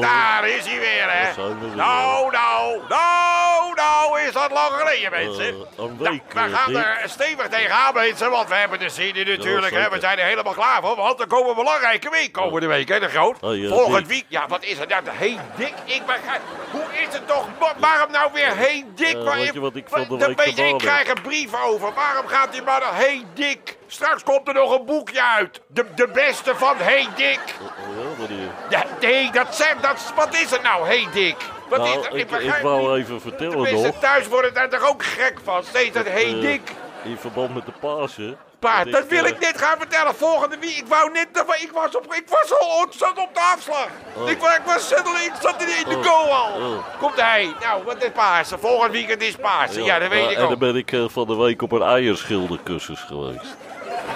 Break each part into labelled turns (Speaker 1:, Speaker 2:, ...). Speaker 1: daar is hij weer, hè.
Speaker 2: Oh. Dat zijn we weer.
Speaker 1: Nou, nou, nou, nou is dat lang geleden, mensen.
Speaker 2: Eh, een
Speaker 1: Nou,
Speaker 2: week,
Speaker 1: we
Speaker 2: eh,
Speaker 1: gaan
Speaker 2: Dick.
Speaker 1: er stevig tegenaan, mensen, want we hebben de zin in natuurlijk. hè. we
Speaker 2: zeker.
Speaker 1: zijn er helemaal klaar voor, want er komen belangrijke week komende week, hè, de groot.
Speaker 2: Hey, eh,
Speaker 1: Volgend
Speaker 2: Dick.
Speaker 1: week, ja, wat is het? Ja, hey, dik, ik begrijp... Hoe is het toch? wa- Waarom nou weer hey, dik?
Speaker 2: Eh,
Speaker 1: Waarom-
Speaker 2: weet je wat ik van de
Speaker 1: Dan
Speaker 2: week
Speaker 1: weet je, Ik
Speaker 2: gedaan heb?
Speaker 1: krijg een brief over. Waarom gaat die man... Hey, dik. Straks komt er nog een boekje uit. De, de beste van Hey, dik.
Speaker 2: Oh, ja, meneer.
Speaker 1: Ja, nee, dat zijn, dat, wat is het nou? hey, Dick. Wat is
Speaker 2: Nou,
Speaker 1: het?
Speaker 2: ik, ik
Speaker 1: begrijp niet.
Speaker 2: wou even vertellen
Speaker 1: Mensen
Speaker 2: nog.
Speaker 1: thuis worden daar toch ook gek van? Steeds dat hey,
Speaker 2: eh,
Speaker 1: Dick.
Speaker 2: In verband met de Pasen.
Speaker 1: Paard, dat wil
Speaker 2: eh,
Speaker 1: ik net gaan vertellen. Volgende week, ik wou net, ik was, op, ik was al ik zat op de afslag.
Speaker 2: Oh.
Speaker 1: Ik, wa- ik was zitten, ik zat in, in de
Speaker 2: Oh.
Speaker 1: goal al.
Speaker 2: Oh.
Speaker 1: Komt hij. Nou, wat is Paarse? Volgend weekend is Paarse. Ja, dat weet
Speaker 2: eh,
Speaker 1: ik
Speaker 2: En dan
Speaker 1: ook.
Speaker 2: ben ik eh, van de week op een eierschildercursus geweest.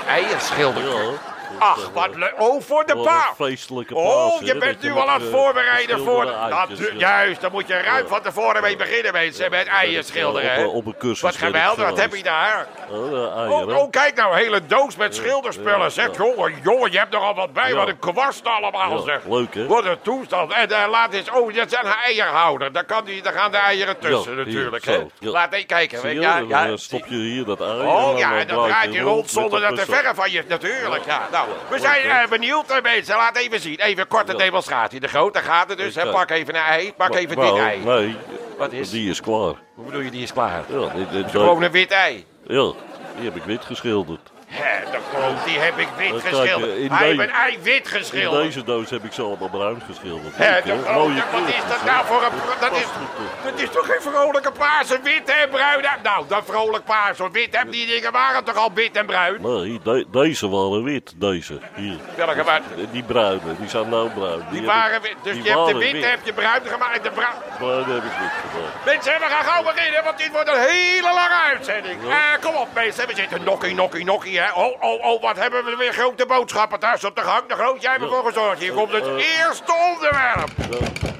Speaker 1: Eierschilder.
Speaker 2: Ja.
Speaker 1: Ach, wat leuk. Oh, voor de
Speaker 2: Wat
Speaker 1: paard.
Speaker 2: een feestelijke
Speaker 1: Oh,
Speaker 2: Pasen,
Speaker 1: je
Speaker 2: hè,
Speaker 1: bent
Speaker 2: dat je
Speaker 1: nu
Speaker 2: met,
Speaker 1: al aan het
Speaker 2: eh,
Speaker 1: voorbereiden voor...
Speaker 2: geschilderde eitjes, eh.
Speaker 1: Natu-
Speaker 2: ja.
Speaker 1: Juist, dan moet je ruim van tevoren mee beginnen, mensen, met eieren schilderen.
Speaker 2: Op,
Speaker 1: hè.
Speaker 2: een- op een cursus.
Speaker 1: Wat
Speaker 2: ben ik
Speaker 1: geweldig, wat
Speaker 2: geweest.
Speaker 1: heb je daar?
Speaker 2: Oh, eh, eieren.
Speaker 1: Oh, oh, kijk nou, hele doos met
Speaker 2: ja,
Speaker 1: schilderspullen. Zeg,
Speaker 2: ja.
Speaker 1: jongen, jongen, je hebt nogal wat bij.
Speaker 2: Ja.
Speaker 1: Wat een kwast allemaal,
Speaker 2: Ja,
Speaker 1: zeg.
Speaker 2: leuk, hè?
Speaker 1: Wat een toestand. En eh, laat eens... Oh, dat zijn eierhouder. Daar, kan die, daar gaan de eieren tussen,
Speaker 2: hier,
Speaker 1: natuurlijk,
Speaker 2: zo,
Speaker 1: hè.
Speaker 2: ja.
Speaker 1: Laat even kijken.
Speaker 2: Zie
Speaker 1: hè.
Speaker 2: je,
Speaker 1: Ja,
Speaker 2: dan,
Speaker 1: ja,
Speaker 2: eh, stop je hier dat ei.
Speaker 1: Oh ja, en
Speaker 2: en
Speaker 1: dan draait
Speaker 2: je
Speaker 1: hij rond
Speaker 2: met
Speaker 1: zonder
Speaker 2: een
Speaker 1: dat de
Speaker 2: persoon.
Speaker 1: verre van je... Natuurlijk, ja. Nou, we
Speaker 2: leuk,
Speaker 1: zijn
Speaker 2: hè?
Speaker 1: eh, benieuwd, eh, mensen. Laat even zien. Even korte
Speaker 2: Ja.
Speaker 1: demonstratie. De groot, daar gaat het dus. hè.
Speaker 2: Oké.
Speaker 1: Pak even een ei. Pak even
Speaker 2: Nou,
Speaker 1: dit ei.
Speaker 2: Nee,
Speaker 1: Wat is?
Speaker 2: die is klaar.
Speaker 1: Hoe bedoel je, die is klaar?
Speaker 2: Ja, dit, dit,
Speaker 1: Gewoon een wit ei.
Speaker 2: ja, die heb ik wit geschilderd.
Speaker 1: Hè, de groot, die heb ik
Speaker 2: Eh,
Speaker 1: wit
Speaker 2: kijk, eh,
Speaker 1: geschilderd.
Speaker 2: in
Speaker 1: Hij heeft
Speaker 2: deze-
Speaker 1: een ei wit
Speaker 2: In
Speaker 1: geschilderd.
Speaker 2: deze doos heb ik ze allemaal bruin geschilderd.
Speaker 1: Hè,
Speaker 2: Leuk,
Speaker 1: de
Speaker 2: hè?
Speaker 1: grote,
Speaker 2: Mooie
Speaker 1: wat is
Speaker 2: kleurtjes,
Speaker 1: dat
Speaker 2: hè?
Speaker 1: nou voor een... Dat is,
Speaker 2: past goed, hè?
Speaker 1: dat is toch geen vrolijke paarse wit en bruin? Nou, dat vrolijk paars of wit, hè, die dingen waren toch al wit en bruin?
Speaker 2: Nee, de- deze waren wit, deze. Hier.
Speaker 1: Welke waren...
Speaker 2: Die bruine, die zijn nou bruin. Die,
Speaker 1: Die
Speaker 2: heb
Speaker 1: waren
Speaker 2: ik-
Speaker 1: wit. Dus
Speaker 2: die
Speaker 1: je hebt de
Speaker 2: waren
Speaker 1: witte, heb je bruin gemaakt en de bruin...
Speaker 2: Bruin heb ik wit gedaan.
Speaker 1: Mensen, we gaan gauw beginnen, want dit wordt een hele lange uitzending.
Speaker 2: Ja.
Speaker 1: Eh, kom op, mensen. We zitten nokkie, nokkie, nokkie, hè. Oh, oh, oh, wat hebben we weer grote boodschappen thuis op de gang. De groot, jij hebt ervoor gezorgd. Hier komt het
Speaker 2: Eh,
Speaker 1: eerste onderwerp.
Speaker 2: Zo.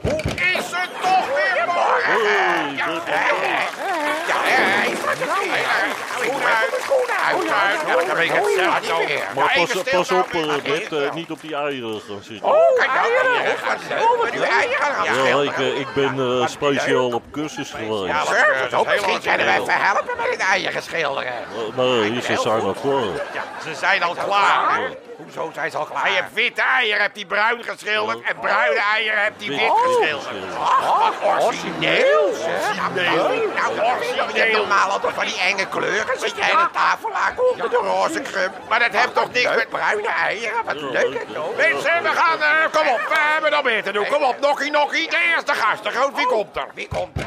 Speaker 1: Hoe is het toch weer morgen?
Speaker 2: Hey,
Speaker 1: Ja,
Speaker 2: dat-
Speaker 1: hè, hè. Ja, hè. Schoen uit, schoen uit, uit. Elke week hetzelfde. zo. Ja,
Speaker 2: Maar
Speaker 1: even
Speaker 2: pas,
Speaker 1: stil
Speaker 2: pas
Speaker 1: nou
Speaker 2: op,
Speaker 1: weer.
Speaker 2: eh, Bert, eh, niet op die eieren gaan zitten.
Speaker 1: Oh, kijk nou, eieren. Oh, wat uw eieren gaan
Speaker 2: ja, ik, eh, ik ben eh, speciaal op cursus
Speaker 1: Ja,
Speaker 2: geweest.
Speaker 1: wat, eh, dat is heel
Speaker 3: Misschien kunnen we
Speaker 1: origineel.
Speaker 3: even helpen met het eieren schilderen.
Speaker 2: Eh, Nee, ze zijn al klaar.
Speaker 1: Ja, ze zijn al klaar. hè.
Speaker 3: Hoezo zijn ze al klaar?
Speaker 1: Hij heeft witte eieren, hebt hij bruin geschilderd. En bruine eieren hebt hij
Speaker 2: Wit
Speaker 1: wit geschilderd. Oh.
Speaker 2: geschilderd.
Speaker 1: Ach, wat origineel. Origineel.
Speaker 3: Nou,
Speaker 1: Nou,
Speaker 3: je hebt
Speaker 1: origineel.
Speaker 3: normaal altijd van die enge kleuren. Zit jij aan de tafel aan onder de roze kruim?
Speaker 1: Maar dat heeft toch niks met...
Speaker 3: Leuk, bruine eieren. Wat leuk het toch?
Speaker 1: Mensen, we gaan... eh, kom op, we hebben nog meer te doen. Kom op, nokkie, nokkie. De eerste gast, de groot, Oh, wie komt er?
Speaker 3: Wie komt er?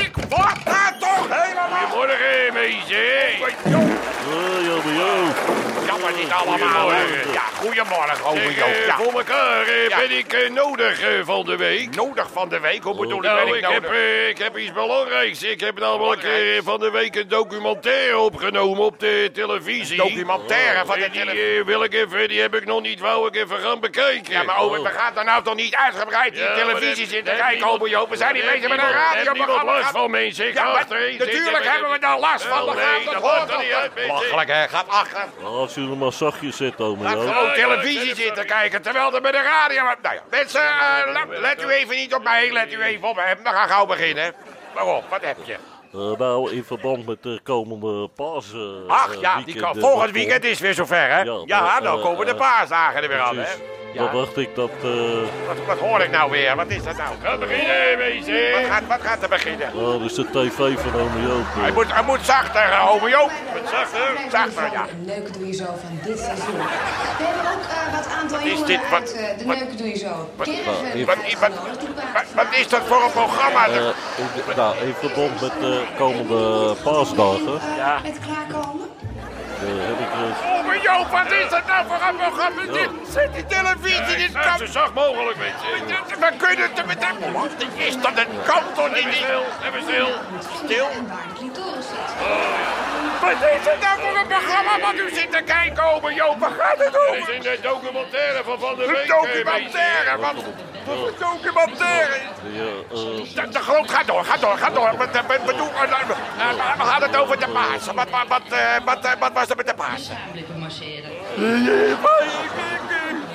Speaker 1: Ik word daar toch helemaal... Goedemorgen, meisje.
Speaker 2: Eh, Ja, maar joh.
Speaker 1: Ja, maar niet allemaal.
Speaker 2: Goedemorgen.
Speaker 1: eh, Ja, goedemorgen,
Speaker 4: Zeg,
Speaker 1: over
Speaker 4: eh,
Speaker 1: Joop. Oh, Ja.
Speaker 4: Voor elkaar eh,
Speaker 1: Ja.
Speaker 4: ben ik eh, nodig eh, van de week.
Speaker 1: Nodig van de week, hoe bedoel ik,
Speaker 4: Nou,
Speaker 1: ben ik
Speaker 4: ik, heb,
Speaker 1: nodig?
Speaker 4: eh, ik heb iets belangrijks. Ik heb namelijk eh,
Speaker 1: Belangrijks?
Speaker 4: van de week een documentaire opgenomen op de televisie.
Speaker 1: Documentaire van de
Speaker 4: En die,
Speaker 1: televisie.
Speaker 4: eh, wil ik even, die heb ik nog niet, wou ik even gaan bekijken.
Speaker 1: Ja, maar Owen, we gaan daar nou toch niet uitgebreid in
Speaker 4: Ja, maar
Speaker 1: televisie
Speaker 4: heb-
Speaker 1: zitten
Speaker 4: heb
Speaker 1: kijken,
Speaker 4: niemand-
Speaker 1: Owen Joop. We zijn niet
Speaker 4: heb
Speaker 1: bezig met een
Speaker 4: niemand- heb niemand
Speaker 1: radioprogramma.
Speaker 4: last van mensen. Ik
Speaker 1: Ja,
Speaker 4: ga
Speaker 1: maar
Speaker 4: achterin zitten,
Speaker 1: natuurlijk
Speaker 4: maar
Speaker 1: hebben we
Speaker 4: dat-
Speaker 1: daar last van.
Speaker 4: Wel,
Speaker 1: Dan gaan
Speaker 4: nee,
Speaker 1: we
Speaker 4: dat
Speaker 1: gewoon
Speaker 4: maakt er niet
Speaker 1: toch-
Speaker 4: uit, mensen.
Speaker 1: Belachelijk, hè? Gaat achter.
Speaker 2: Nou, Als jullie maar zachtjes zitten, oma
Speaker 1: Laat
Speaker 2: joh.
Speaker 1: gewoon
Speaker 4: ja,
Speaker 1: televisie
Speaker 4: ja,
Speaker 1: zitten
Speaker 4: sorry.
Speaker 1: kijken, terwijl er met de radio... Nou ja, mensen, eh, la- let u even niet op mij, let u even op hem. We gaan gauw beginnen. Waarom? Wat heb je?
Speaker 2: Eh, nou, in verband met de komende Pasen.
Speaker 1: Ach
Speaker 2: eh,
Speaker 1: ja, die
Speaker 2: weekend,
Speaker 1: kan,
Speaker 2: eh,
Speaker 1: volgend
Speaker 2: dat
Speaker 1: weekend
Speaker 2: komt.
Speaker 1: is weer zover, hè?
Speaker 2: Ja,
Speaker 1: Ja,
Speaker 2: maar,
Speaker 1: dan
Speaker 2: eh,
Speaker 1: komen de
Speaker 2: eh,
Speaker 1: paasdagen er weer aan, hè?
Speaker 2: Precies. Dan dacht ik dat. eh,
Speaker 1: Wat, wat hoor ik nou weer? Wat is dat nou?
Speaker 4: Ga beginnen, mensen.
Speaker 1: Wat gaat, wat gaat er beginnen?
Speaker 2: Ja, dat is nou, dus de tv van oma Joop.
Speaker 1: Hij
Speaker 2: eh.
Speaker 1: moet, hij moet zachter, eh, ome Joop. Wat zachter? Zachter, ja.
Speaker 5: De neuken doe je zo van dit seizoen. We hebben ook eh, wat aantal
Speaker 1: is
Speaker 5: jongeren
Speaker 1: dit? Wat-
Speaker 5: uit eh, de
Speaker 1: wat-
Speaker 5: neuken doe je zo.
Speaker 1: wat-
Speaker 5: Kerven
Speaker 1: Wat, wat,
Speaker 5: uitgenodigd, die
Speaker 1: wat, wat is dat voor een programma?
Speaker 2: Eh, in de- nou, in verband met de komende paasdagen
Speaker 5: Eh,
Speaker 1: Ja.
Speaker 5: Met klaarkomen.
Speaker 2: eh, heb ik eh,
Speaker 1: Ome Joop, wat is dat nou voor een programma? Dit, zet die televisie, dit
Speaker 4: Laat
Speaker 1: kan...
Speaker 4: zo zacht mogelijk, mensen.
Speaker 1: dit- We kunnen het er met hem... Wat is dat? Het kan toch niet?
Speaker 4: Even stil, even stil.
Speaker 1: Stil.
Speaker 5: En waar de clitoris zit.
Speaker 1: Wat is het nou voor een programma wat u zit te kijken, ome Joop? Waar gaat het
Speaker 4: Dit is
Speaker 1: over?
Speaker 4: in de documentaire van van de week.
Speaker 1: Een
Speaker 4: eh,
Speaker 1: documentaire,
Speaker 4: mensen.
Speaker 1: wat... Wat een documentaire...
Speaker 2: ja, eh,
Speaker 1: De, de grond gaat door, gaat door, gaat door. Wat, eh, we, we, doen, eh, eh, eh, we gaan het over de paas. Wat, wat, wat, eh, wat, eh, wat was er met de paas?
Speaker 6: Samen blijven marcheren.
Speaker 1: Ik, ik,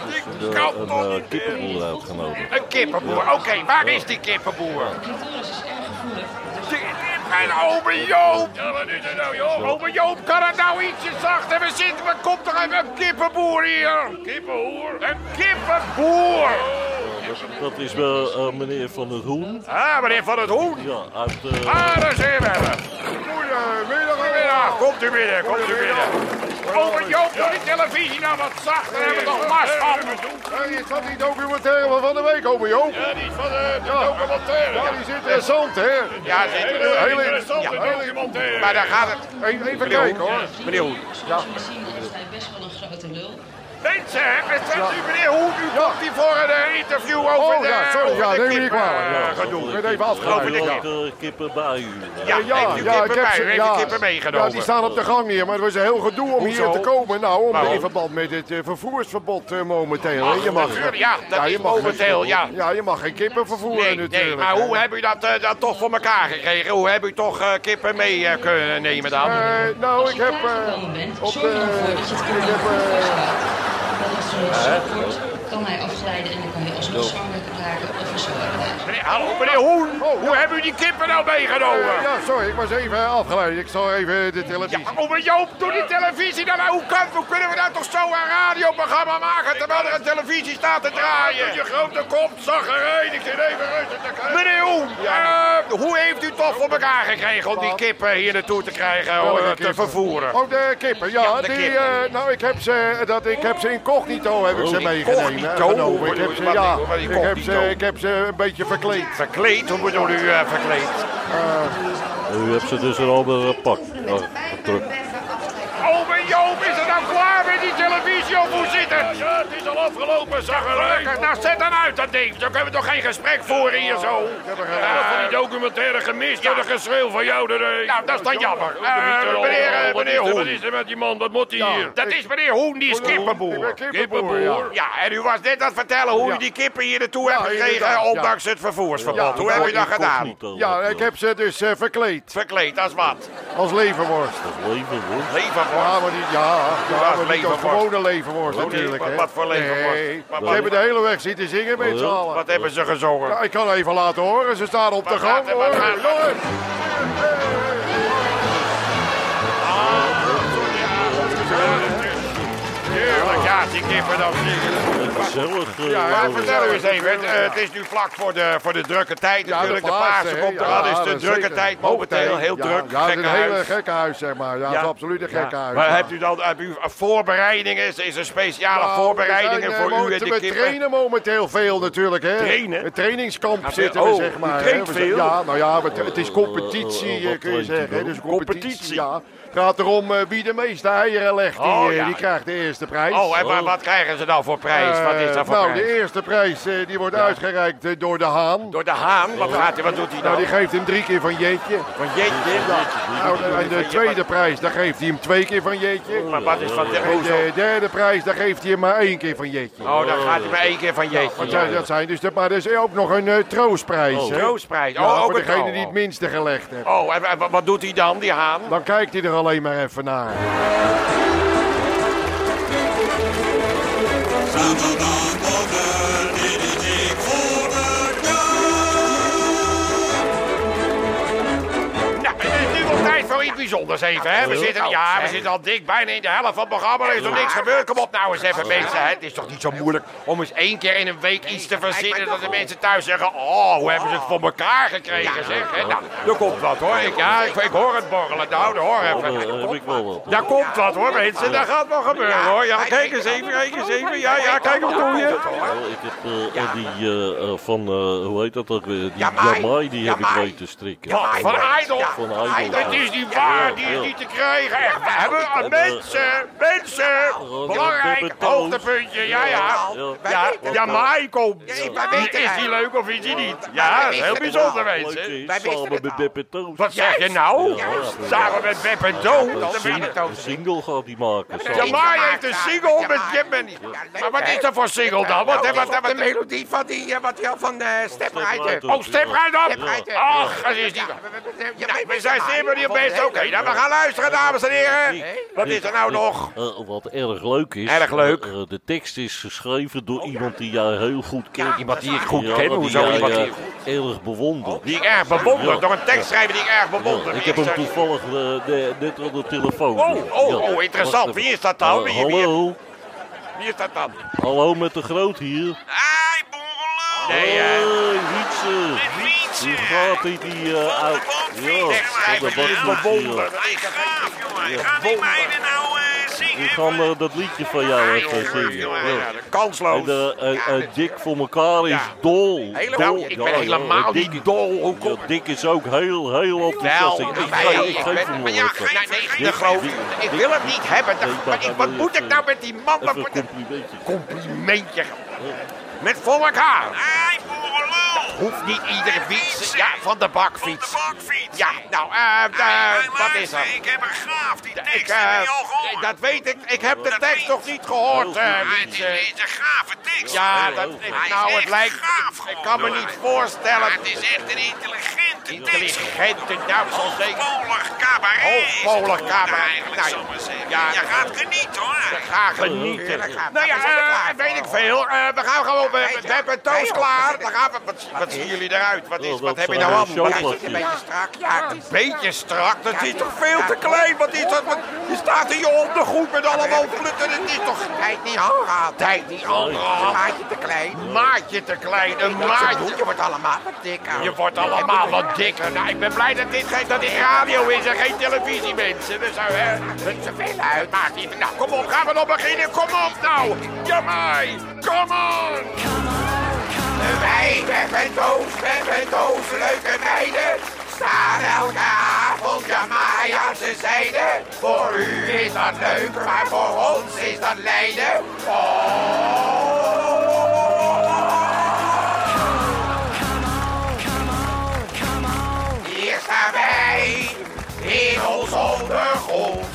Speaker 1: ik, ik,
Speaker 2: er
Speaker 1: Kan
Speaker 2: een
Speaker 1: toch
Speaker 2: eh,
Speaker 1: niet?
Speaker 2: kippenboer uitgenodigd.
Speaker 1: Een kippenboer. Oké, waar is die kippenboer?
Speaker 5: Clitoris is erg gevoelig. Dus
Speaker 1: Die- Mijn ome Joop! Ja, wat is er nou, Joop? Ome Joop, kan het nou ietsje zachter? We zitten, we komt toch even een kippenboer hier? Kippenboer? Een kippenboer!
Speaker 2: Dat is wel eh, meneer Van der Hoen.
Speaker 1: Ah, meneer Van het Hoen.
Speaker 2: Ja, uit... eh,
Speaker 1: Ah, daar zijn we. Goedemiddag, goedemiddag. Komt u binnen, komt u binnen. Ome Joop, doe die televisie nou wat zachter. Daar hebben we toch last van.
Speaker 4: Hey, is dat die documentaire van van de week, over Joop? Ja, die van de, documentaire. Ja, die is interessant, hè?
Speaker 1: Ja, zit er.
Speaker 4: Heel interessante documentaire.
Speaker 1: Maar daar gaat het.
Speaker 4: Even, even kijken, hoor.
Speaker 1: Meneer Hoen.
Speaker 5: zoals we zien is hij best wel een grote lul.
Speaker 1: Mensen, beseft u meneer Hoen, u komt hier voor een eh, interview over
Speaker 4: Oh,
Speaker 1: de...
Speaker 4: ja, sorry,
Speaker 1: over
Speaker 4: ja,
Speaker 1: de
Speaker 4: neem me niet
Speaker 1: kippen,
Speaker 4: kwalijk, ja.
Speaker 1: eh, gedoe.
Speaker 4: Ik werd even afgeleid.
Speaker 1: Over de
Speaker 2: ook,
Speaker 1: kip.
Speaker 2: eh, kippen bij u. eh.
Speaker 1: Ja, heeft u kippen bij, u heeft u kippen meegenomen.
Speaker 4: Ja, die staan op de gang hier, maar het was een heel gedoe om
Speaker 1: Hoezo?
Speaker 4: hier te komen. Nou, om,
Speaker 1: Waarom?
Speaker 4: in verband met het eh, vervoersverbod eh, momenteel. hè. je mag,
Speaker 1: natuurlijk, ja, dat
Speaker 4: je
Speaker 1: is
Speaker 4: mag geen
Speaker 1: momenteel,
Speaker 4: kippen-
Speaker 1: ja.
Speaker 4: Ja, je mag geen kippen vervoeren
Speaker 1: Nee,
Speaker 4: natuurlijk.
Speaker 1: nee, maar
Speaker 4: hè.
Speaker 1: hoe heb u dat, eh, dat toch voor elkaar gekregen? Hoe heb u toch eh, kippen mee eh, kunnen nemen dan?
Speaker 4: Eh, nou,
Speaker 5: Als
Speaker 4: ik
Speaker 5: je
Speaker 4: heb...
Speaker 5: klaargekomen bent,
Speaker 4: eh op
Speaker 5: zorg dan voor
Speaker 4: de,
Speaker 5: dat je het
Speaker 4: ik
Speaker 5: kind
Speaker 4: heb,
Speaker 5: aan de
Speaker 4: eh,
Speaker 5: voor staat. Want als er een wordt, kan hij afglijden en dan kan je alsnog zwanger raken of een zwanger raken.
Speaker 1: Meneer- Hallo, meneer Hoen,
Speaker 4: Oh,
Speaker 1: hoe hebben u die kippen nou
Speaker 4: eh,
Speaker 1: meegenomen?
Speaker 4: ja, sorry, ik was even afgeleid. Ik zal even de televisie...
Speaker 1: Ja, oh, maar Joop, doe die televisie dan nou. Hoe kan, hoe kunnen we nou toch zo een radioprogramma maken terwijl er een televisie staat te draaien? Je grote kop, zaggerijn, ik zit even rustig te kijken. Meneer Hoen, eh, hoe heeft u toch voor elkaar gekregen om die kippen hier naartoe te krijgen,
Speaker 4: Welke
Speaker 1: eh, te
Speaker 4: kippen?
Speaker 1: vervoeren?
Speaker 4: Oh, de kippen, ja.
Speaker 1: Ja, de
Speaker 4: die,
Speaker 1: kippen. Oh,
Speaker 4: eh, nou, ik heb ze, dat, ik heb ze incognito heb ik ze meegenomen.
Speaker 1: Incognito?
Speaker 4: eh, genomen. Ik heb
Speaker 1: Wat-
Speaker 4: ze,
Speaker 1: wat-
Speaker 4: ja,
Speaker 1: wat-
Speaker 4: ik heb
Speaker 1: incognito?
Speaker 4: ze, ik heb ze een beetje verkleed.
Speaker 1: Verkleed, hoe bedoel u eh, verkleed?
Speaker 2: U hebt ze dus een ander eh, pak.
Speaker 5: Oefenen
Speaker 2: Oh,
Speaker 5: met bijna
Speaker 2: druk.
Speaker 5: beffen aftrekken.
Speaker 1: Oh, maar Joop, is er nou klaar met die televisie of hoe zit het? Ja, het is al afgelopen, zaggerijn. Nou, zet dan uit dat ding. Dan kunnen we toch geen gesprek voeren hier zo?
Speaker 4: Eh,
Speaker 1: die documentaire gemist
Speaker 4: door dat eh,
Speaker 1: geschreeuw van jou. Nou, dat is dan jammer. Eh,
Speaker 4: er al?
Speaker 1: meneer, eh,
Speaker 4: oh, Wat is
Speaker 1: meneer
Speaker 4: er-
Speaker 1: Hoen.
Speaker 4: wat is
Speaker 1: er met die man? Wat moet hij
Speaker 4: hier?
Speaker 1: Dat is meneer Hoen, die is
Speaker 4: Ik
Speaker 1: kippenboer.
Speaker 4: ben kippenboer, ja.
Speaker 1: Ja, en u was net aan het vertellen hoe u
Speaker 4: Ja.
Speaker 1: die kippen hier naartoe
Speaker 4: Ja,
Speaker 1: hebt gekregen,
Speaker 4: inderdaad, ja.
Speaker 1: ondanks het vervoersverbod.
Speaker 4: Ja,
Speaker 1: Hoe heb je dat
Speaker 2: Incognito,
Speaker 1: gedaan?
Speaker 4: Ja,
Speaker 2: dat
Speaker 4: ik heb ze dus eh, verkleed
Speaker 1: Verkleed, als wat?
Speaker 4: als levenworst.
Speaker 2: Dat leven, hoor.
Speaker 1: Leven voor.
Speaker 4: Ja, maar die, ja, ja, maar niet als
Speaker 1: levenworst.
Speaker 4: gewone levenworst
Speaker 1: Gewone-
Speaker 4: natuurlijk.
Speaker 1: wat-
Speaker 4: hè.
Speaker 1: wat voor levenworst?
Speaker 4: Nee,
Speaker 1: Maar-
Speaker 4: ze hebben de hele weg zitten zingen met z'n
Speaker 2: Wat-
Speaker 4: allen.
Speaker 1: Wat hebben ze gezongen?
Speaker 4: Ja, ik kan even laten horen, ze staan op de
Speaker 1: Wat
Speaker 4: gang
Speaker 1: laten- wat
Speaker 4: hoor.
Speaker 1: laten-
Speaker 4: Jongens,
Speaker 1: Tuurlijk, ja, die kippen dan zingen.
Speaker 2: Een Gezellig. eh,
Speaker 4: Ja,
Speaker 1: Maar
Speaker 2: jongen.
Speaker 1: vertel u eens even, het, eh, het is nu vlak voor de, voor de drukke tijd
Speaker 4: Ja,
Speaker 1: natuurlijk. De
Speaker 4: de Pasen,
Speaker 1: Pasen
Speaker 4: hè,
Speaker 1: komt
Speaker 4: ja,
Speaker 1: eraan, is de
Speaker 4: dat
Speaker 1: drukke
Speaker 4: zeker.
Speaker 1: tijd momenteel. Heel
Speaker 4: ja,
Speaker 1: druk,
Speaker 4: Ja, het is een hele
Speaker 1: gekkenhuis.
Speaker 4: gekke huis, zeg maar. Ja, het
Speaker 1: Ja.
Speaker 4: is absoluut een gekke huis.
Speaker 1: Maar
Speaker 4: ja.
Speaker 1: hebt u dan hebt u voorbereidingen? Is, is er speciale
Speaker 4: Nou,
Speaker 1: voorbereidingen
Speaker 4: we zijn,
Speaker 1: voor
Speaker 4: eh,
Speaker 1: u en
Speaker 4: mo-
Speaker 1: de
Speaker 4: We
Speaker 1: kippen?
Speaker 4: trainen momenteel veel natuurlijk. Hè?
Speaker 1: Trainen?
Speaker 4: Een trainingskamp
Speaker 1: Ah,
Speaker 4: zitten we,
Speaker 1: oh,
Speaker 4: zeg
Speaker 1: u
Speaker 4: maar. hè.
Speaker 1: traint
Speaker 4: We zijn-
Speaker 1: veel?
Speaker 4: Ja, nou ja, het, het is
Speaker 2: Eh,
Speaker 4: competitie,
Speaker 2: eh, wat
Speaker 4: eh, kun je
Speaker 2: traint u
Speaker 4: zeggen. hè.
Speaker 2: dan?
Speaker 4: Dus competitie,
Speaker 1: Competitie?
Speaker 4: ja. Het gaat erom eh, wie de meeste eieren legt. Die,
Speaker 1: Oh,
Speaker 4: eh,
Speaker 1: ja.
Speaker 4: die krijgt de eerste prijs.
Speaker 1: Oh, en maar wat krijgen ze dan voor prijs? Wat is dat voor
Speaker 4: Eh, nou,
Speaker 1: prijs?
Speaker 4: de eerste prijs eh, die wordt uitgereikt eh, door de haan.
Speaker 1: Door de haan? Wat, gaat, hij- wat doet hij
Speaker 4: Nou,
Speaker 1: dan?
Speaker 4: die geeft hem drie keer van Jeetje.
Speaker 1: Van jeetje.
Speaker 4: Nou, en de tweede prijs, daar geeft hij hem twee keer van Jeetje.
Speaker 1: Maar wat is van de
Speaker 4: En
Speaker 1: oh, zo.
Speaker 4: de derde prijs, daar geeft hij hem maar één keer van Jeetje.
Speaker 1: Oh, dan gaat hij maar één keer van jeetje.
Speaker 4: Want ja, dat Nou, zijn dus, de- maar er is ook nog een eh, troostprijs.
Speaker 2: Oh.
Speaker 4: hè?
Speaker 1: Troostprijs.
Speaker 4: Ja,
Speaker 1: Oh, ook
Speaker 4: voor
Speaker 1: een
Speaker 4: degene
Speaker 1: trouw.
Speaker 4: die het minste gelegd heeft.
Speaker 1: Oh, en, en wat- wat doet hij dan, die haan?
Speaker 4: Dan kijkt hij er alleen maar even naar.
Speaker 1: Nou, het is nu wel tijd voor iets bijzonders even, hè? We zitten, ja, we zitten al dik, bijna in de helft van het programma. Er is nog niks gebeurd. Kom op nou eens even, mensen. hè. Het is toch niet zo moeilijk om eens één keer in een week iets te verzinnen... dat de mensen thuis zeggen, oh, hoe hebben ze het voor elkaar gekregen, zeg. hè? Nou, er komt wat, hoor. Ik, ja, ik, ik hoor het borrelen. Nou, daar hoor
Speaker 2: Oh,
Speaker 1: even.
Speaker 2: daar heb ik wel wat.
Speaker 1: Daar komt wat, hoor, mensen. Daar gaat wel gebeuren, hoor. Ja, kijk eens even, kijk eens even. Ja, ja, kijk wat doe je.
Speaker 2: Oh, ik heb eh, eh, die eh, eh, van, eh, hoe heet dat ook weer? Die
Speaker 3: Jamai.
Speaker 2: Jamai, die heb ik
Speaker 3: Jamai.
Speaker 2: weten strikken.
Speaker 1: Wat, van Idol?
Speaker 2: Van Idol.
Speaker 1: Het is niet waar, die is niet te krijgen. Echt, we hebben ah, mensen, mensen. Belangrijk, hoogtepuntje, ja, ja. Ja, ja Michael. Is die leuk of is die niet? Ja, dat is heel bijzonder, mensen.
Speaker 2: Leuk, eh, Samen met Beppe Toos.
Speaker 1: Wat Oh, zeg je nou?
Speaker 2: Ja, ja.
Speaker 1: Samen met Bep en Dood.
Speaker 2: Een sing- Een single gaat die maken. samen.
Speaker 1: Jamai heeft een single met Jim en... Maar wat is dat voor single dan? Wat, wat, wat,
Speaker 3: de melodie van die, eh, wat die al van eh Step
Speaker 2: Step Rider.
Speaker 3: Rider.
Speaker 1: oh, step right op!
Speaker 3: Ja.
Speaker 1: Ach, dat is niet...
Speaker 3: Ja, we- we- we- ja,
Speaker 1: Nou,
Speaker 3: maar-
Speaker 1: we zijn
Speaker 3: maar-
Speaker 1: steeds maar hier bezig. Oké, nou, we gaan luisteren, dames en heren. Wat is er nou
Speaker 2: Eh,
Speaker 1: nog?
Speaker 2: eh, wat erg leuk is.
Speaker 1: Erg leuk. Oh,
Speaker 2: eh, eh, de tekst is geschreven door iemand die jij heel goed kent.
Speaker 1: Iemand die ik goed
Speaker 2: Ja,
Speaker 1: ken,
Speaker 2: die
Speaker 1: hoezo
Speaker 2: jij,
Speaker 1: iemand
Speaker 2: eh,
Speaker 1: die-
Speaker 2: erg bewonder.
Speaker 1: Oh, Die ik erg bewonder.
Speaker 2: Ja.
Speaker 1: Door een tekstschrijver die ik erg
Speaker 2: Ja,
Speaker 1: bewonder.
Speaker 2: ik heb
Speaker 1: Wie
Speaker 2: hem
Speaker 1: is dat?
Speaker 2: toevallig eh, ne- net op de telefoon.
Speaker 1: Oh, oh,
Speaker 2: Ja.
Speaker 1: oh, interessant.
Speaker 2: Wacht even.
Speaker 1: Wie is dat dan?
Speaker 2: Eh,
Speaker 1: Wie- wie-
Speaker 2: hallo,
Speaker 1: Wie is dat dan?
Speaker 2: hallo met de groot hier.
Speaker 3: Hé, bongeloo!
Speaker 1: Nee,
Speaker 2: Hey,
Speaker 1: eh,
Speaker 2: Wietse.
Speaker 3: Wietse.
Speaker 2: Hoe gaat ie die eh, oud?
Speaker 3: komt
Speaker 2: Ja,
Speaker 3: Wietse.
Speaker 2: van de
Speaker 1: tekstschrijver die ik
Speaker 2: bakfiets
Speaker 1: bewonder.
Speaker 2: hier.
Speaker 1: Dat is het.
Speaker 3: Gaaf, jongen. Gaan die meiden nou eh,
Speaker 2: Die
Speaker 3: zingen?
Speaker 2: gaan eh, dat liedje van jou even zingen. Ja.
Speaker 1: Ja, Kansloos.
Speaker 2: En eh, eh, eh, Dick voor elkaar is
Speaker 1: Ja.
Speaker 2: dol.
Speaker 1: Helemaal,
Speaker 2: Dol.
Speaker 1: ik
Speaker 2: Ja,
Speaker 1: ben
Speaker 2: ja,
Speaker 1: helemaal
Speaker 2: Dick-
Speaker 1: niet dol. Hoe
Speaker 2: Ja,
Speaker 1: komt
Speaker 2: Dick is ook heel, heel enthousiast. Ik, ik,
Speaker 1: ik
Speaker 2: geef- ik
Speaker 1: ik
Speaker 2: geef
Speaker 1: ben-
Speaker 2: hem
Speaker 1: maar
Speaker 2: wel
Speaker 1: ja,
Speaker 2: even.
Speaker 1: nee, nee,
Speaker 2: Dick-
Speaker 1: de groot.
Speaker 2: Dick-
Speaker 1: Ik
Speaker 2: Dick-
Speaker 1: wil het niet hebben.
Speaker 2: Nee,
Speaker 1: Dat- maar
Speaker 2: daar
Speaker 1: ik- Wat
Speaker 2: wil
Speaker 1: moet ik
Speaker 2: even-
Speaker 1: nou met die man? Wat
Speaker 2: Even een
Speaker 1: moet ik-
Speaker 2: complimentje.
Speaker 1: Complimentje. Met volk haar.
Speaker 3: Hé, bongeloo!
Speaker 1: Hoeft niet iedere fiets. Ja, van de bakfiets.
Speaker 3: Op de bakfiets.
Speaker 1: Ja, nou, eh, eh,
Speaker 3: Hé, hé,
Speaker 1: wat is er?
Speaker 3: luister, Ik heb een graaf, die tekst.
Speaker 1: Ik,
Speaker 3: heb
Speaker 1: eh,
Speaker 3: je al gehoord?
Speaker 1: dat weet ik. Ik heb de
Speaker 3: Dat
Speaker 1: tekst
Speaker 3: weet-
Speaker 1: nog niet gehoord. eh,
Speaker 2: Ja,
Speaker 3: Maar
Speaker 1: Wietse.
Speaker 3: het is- het is een gave tekst.
Speaker 1: ja,
Speaker 2: Oh,
Speaker 1: dat,
Speaker 2: oh,
Speaker 1: ik-
Speaker 2: hij
Speaker 3: is
Speaker 1: nou, het
Speaker 3: echt
Speaker 1: lijkt.
Speaker 3: gaaf
Speaker 1: Ik
Speaker 3: gewoon,
Speaker 1: kan me
Speaker 3: hoor.
Speaker 1: niet voorstellen.
Speaker 3: Maar het is echt een intelligente tekst.
Speaker 1: Intelligente Duitsers zeker.
Speaker 3: Hoogpolig cabaret. is het
Speaker 1: Hoogpolig
Speaker 3: geworden
Speaker 1: Oh, cabaret.
Speaker 3: Eigenlijk,
Speaker 1: Nou,
Speaker 3: zal ik maar zeggen.
Speaker 1: ja.
Speaker 3: je gaat genieten hoor.
Speaker 1: Ga genieten. Nou ja, eh, weet ik veel. Eh, we gaan gewoon. We, we hebben Toos klaar. Dan gaan we, wat, wat zien jullie eruit? Wat, is,
Speaker 2: Oh,
Speaker 1: wat
Speaker 2: dat
Speaker 1: heb je
Speaker 2: zijn
Speaker 1: nou aan?
Speaker 2: wel
Speaker 1: Wat is het?
Speaker 2: showplatjes.
Speaker 1: Een beetje strak. Ja, het is een beetje strak. Dat is toch veel te klein? Wat is dat? Wat, je staat hier op de groep met allemaal flutten. Het is toch tijd niet hangen. Tijd niet Oh, hangen. Maatje te klein. Maatje te klein. Een maatje.
Speaker 3: Je wordt allemaal wat dikker.
Speaker 1: Je wordt allemaal wat dikker. Nou, ik ben blij dat dit, geen- dat dit radio is en geen televisie, mensen. Dus, hè, het zoveel uit. Maakt niet. Nou, kom op, gaan we nog beginnen. Kom op nou. Jamai, come on.
Speaker 3: Wij hebben doos, we hebben doos, leuke meiden. Staan elke avond Jamai aan zijn zijde. Voor u is dat leuk, maar voor ons is dat lijden. Hier staan wij, in ons ondergrond.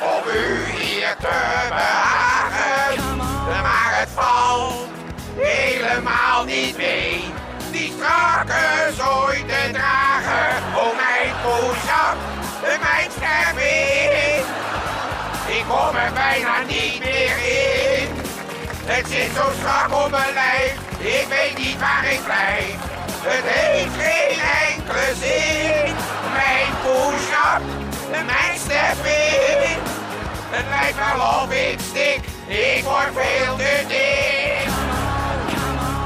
Speaker 3: Om u hier te behagen. Maar het valt helemaal niet mee. Die strakke zooi te dragen. Oh mijn poesap, mijn stem is. Ik kom er bijna niet meer in. Het zit zo strak op mijn lijf. Ik weet niet waar ik blijf. Het heeft geen enkele zin. Mijn push-up, mijn step-in. Het lijkt wel of ik stik. Ik word veel te dik.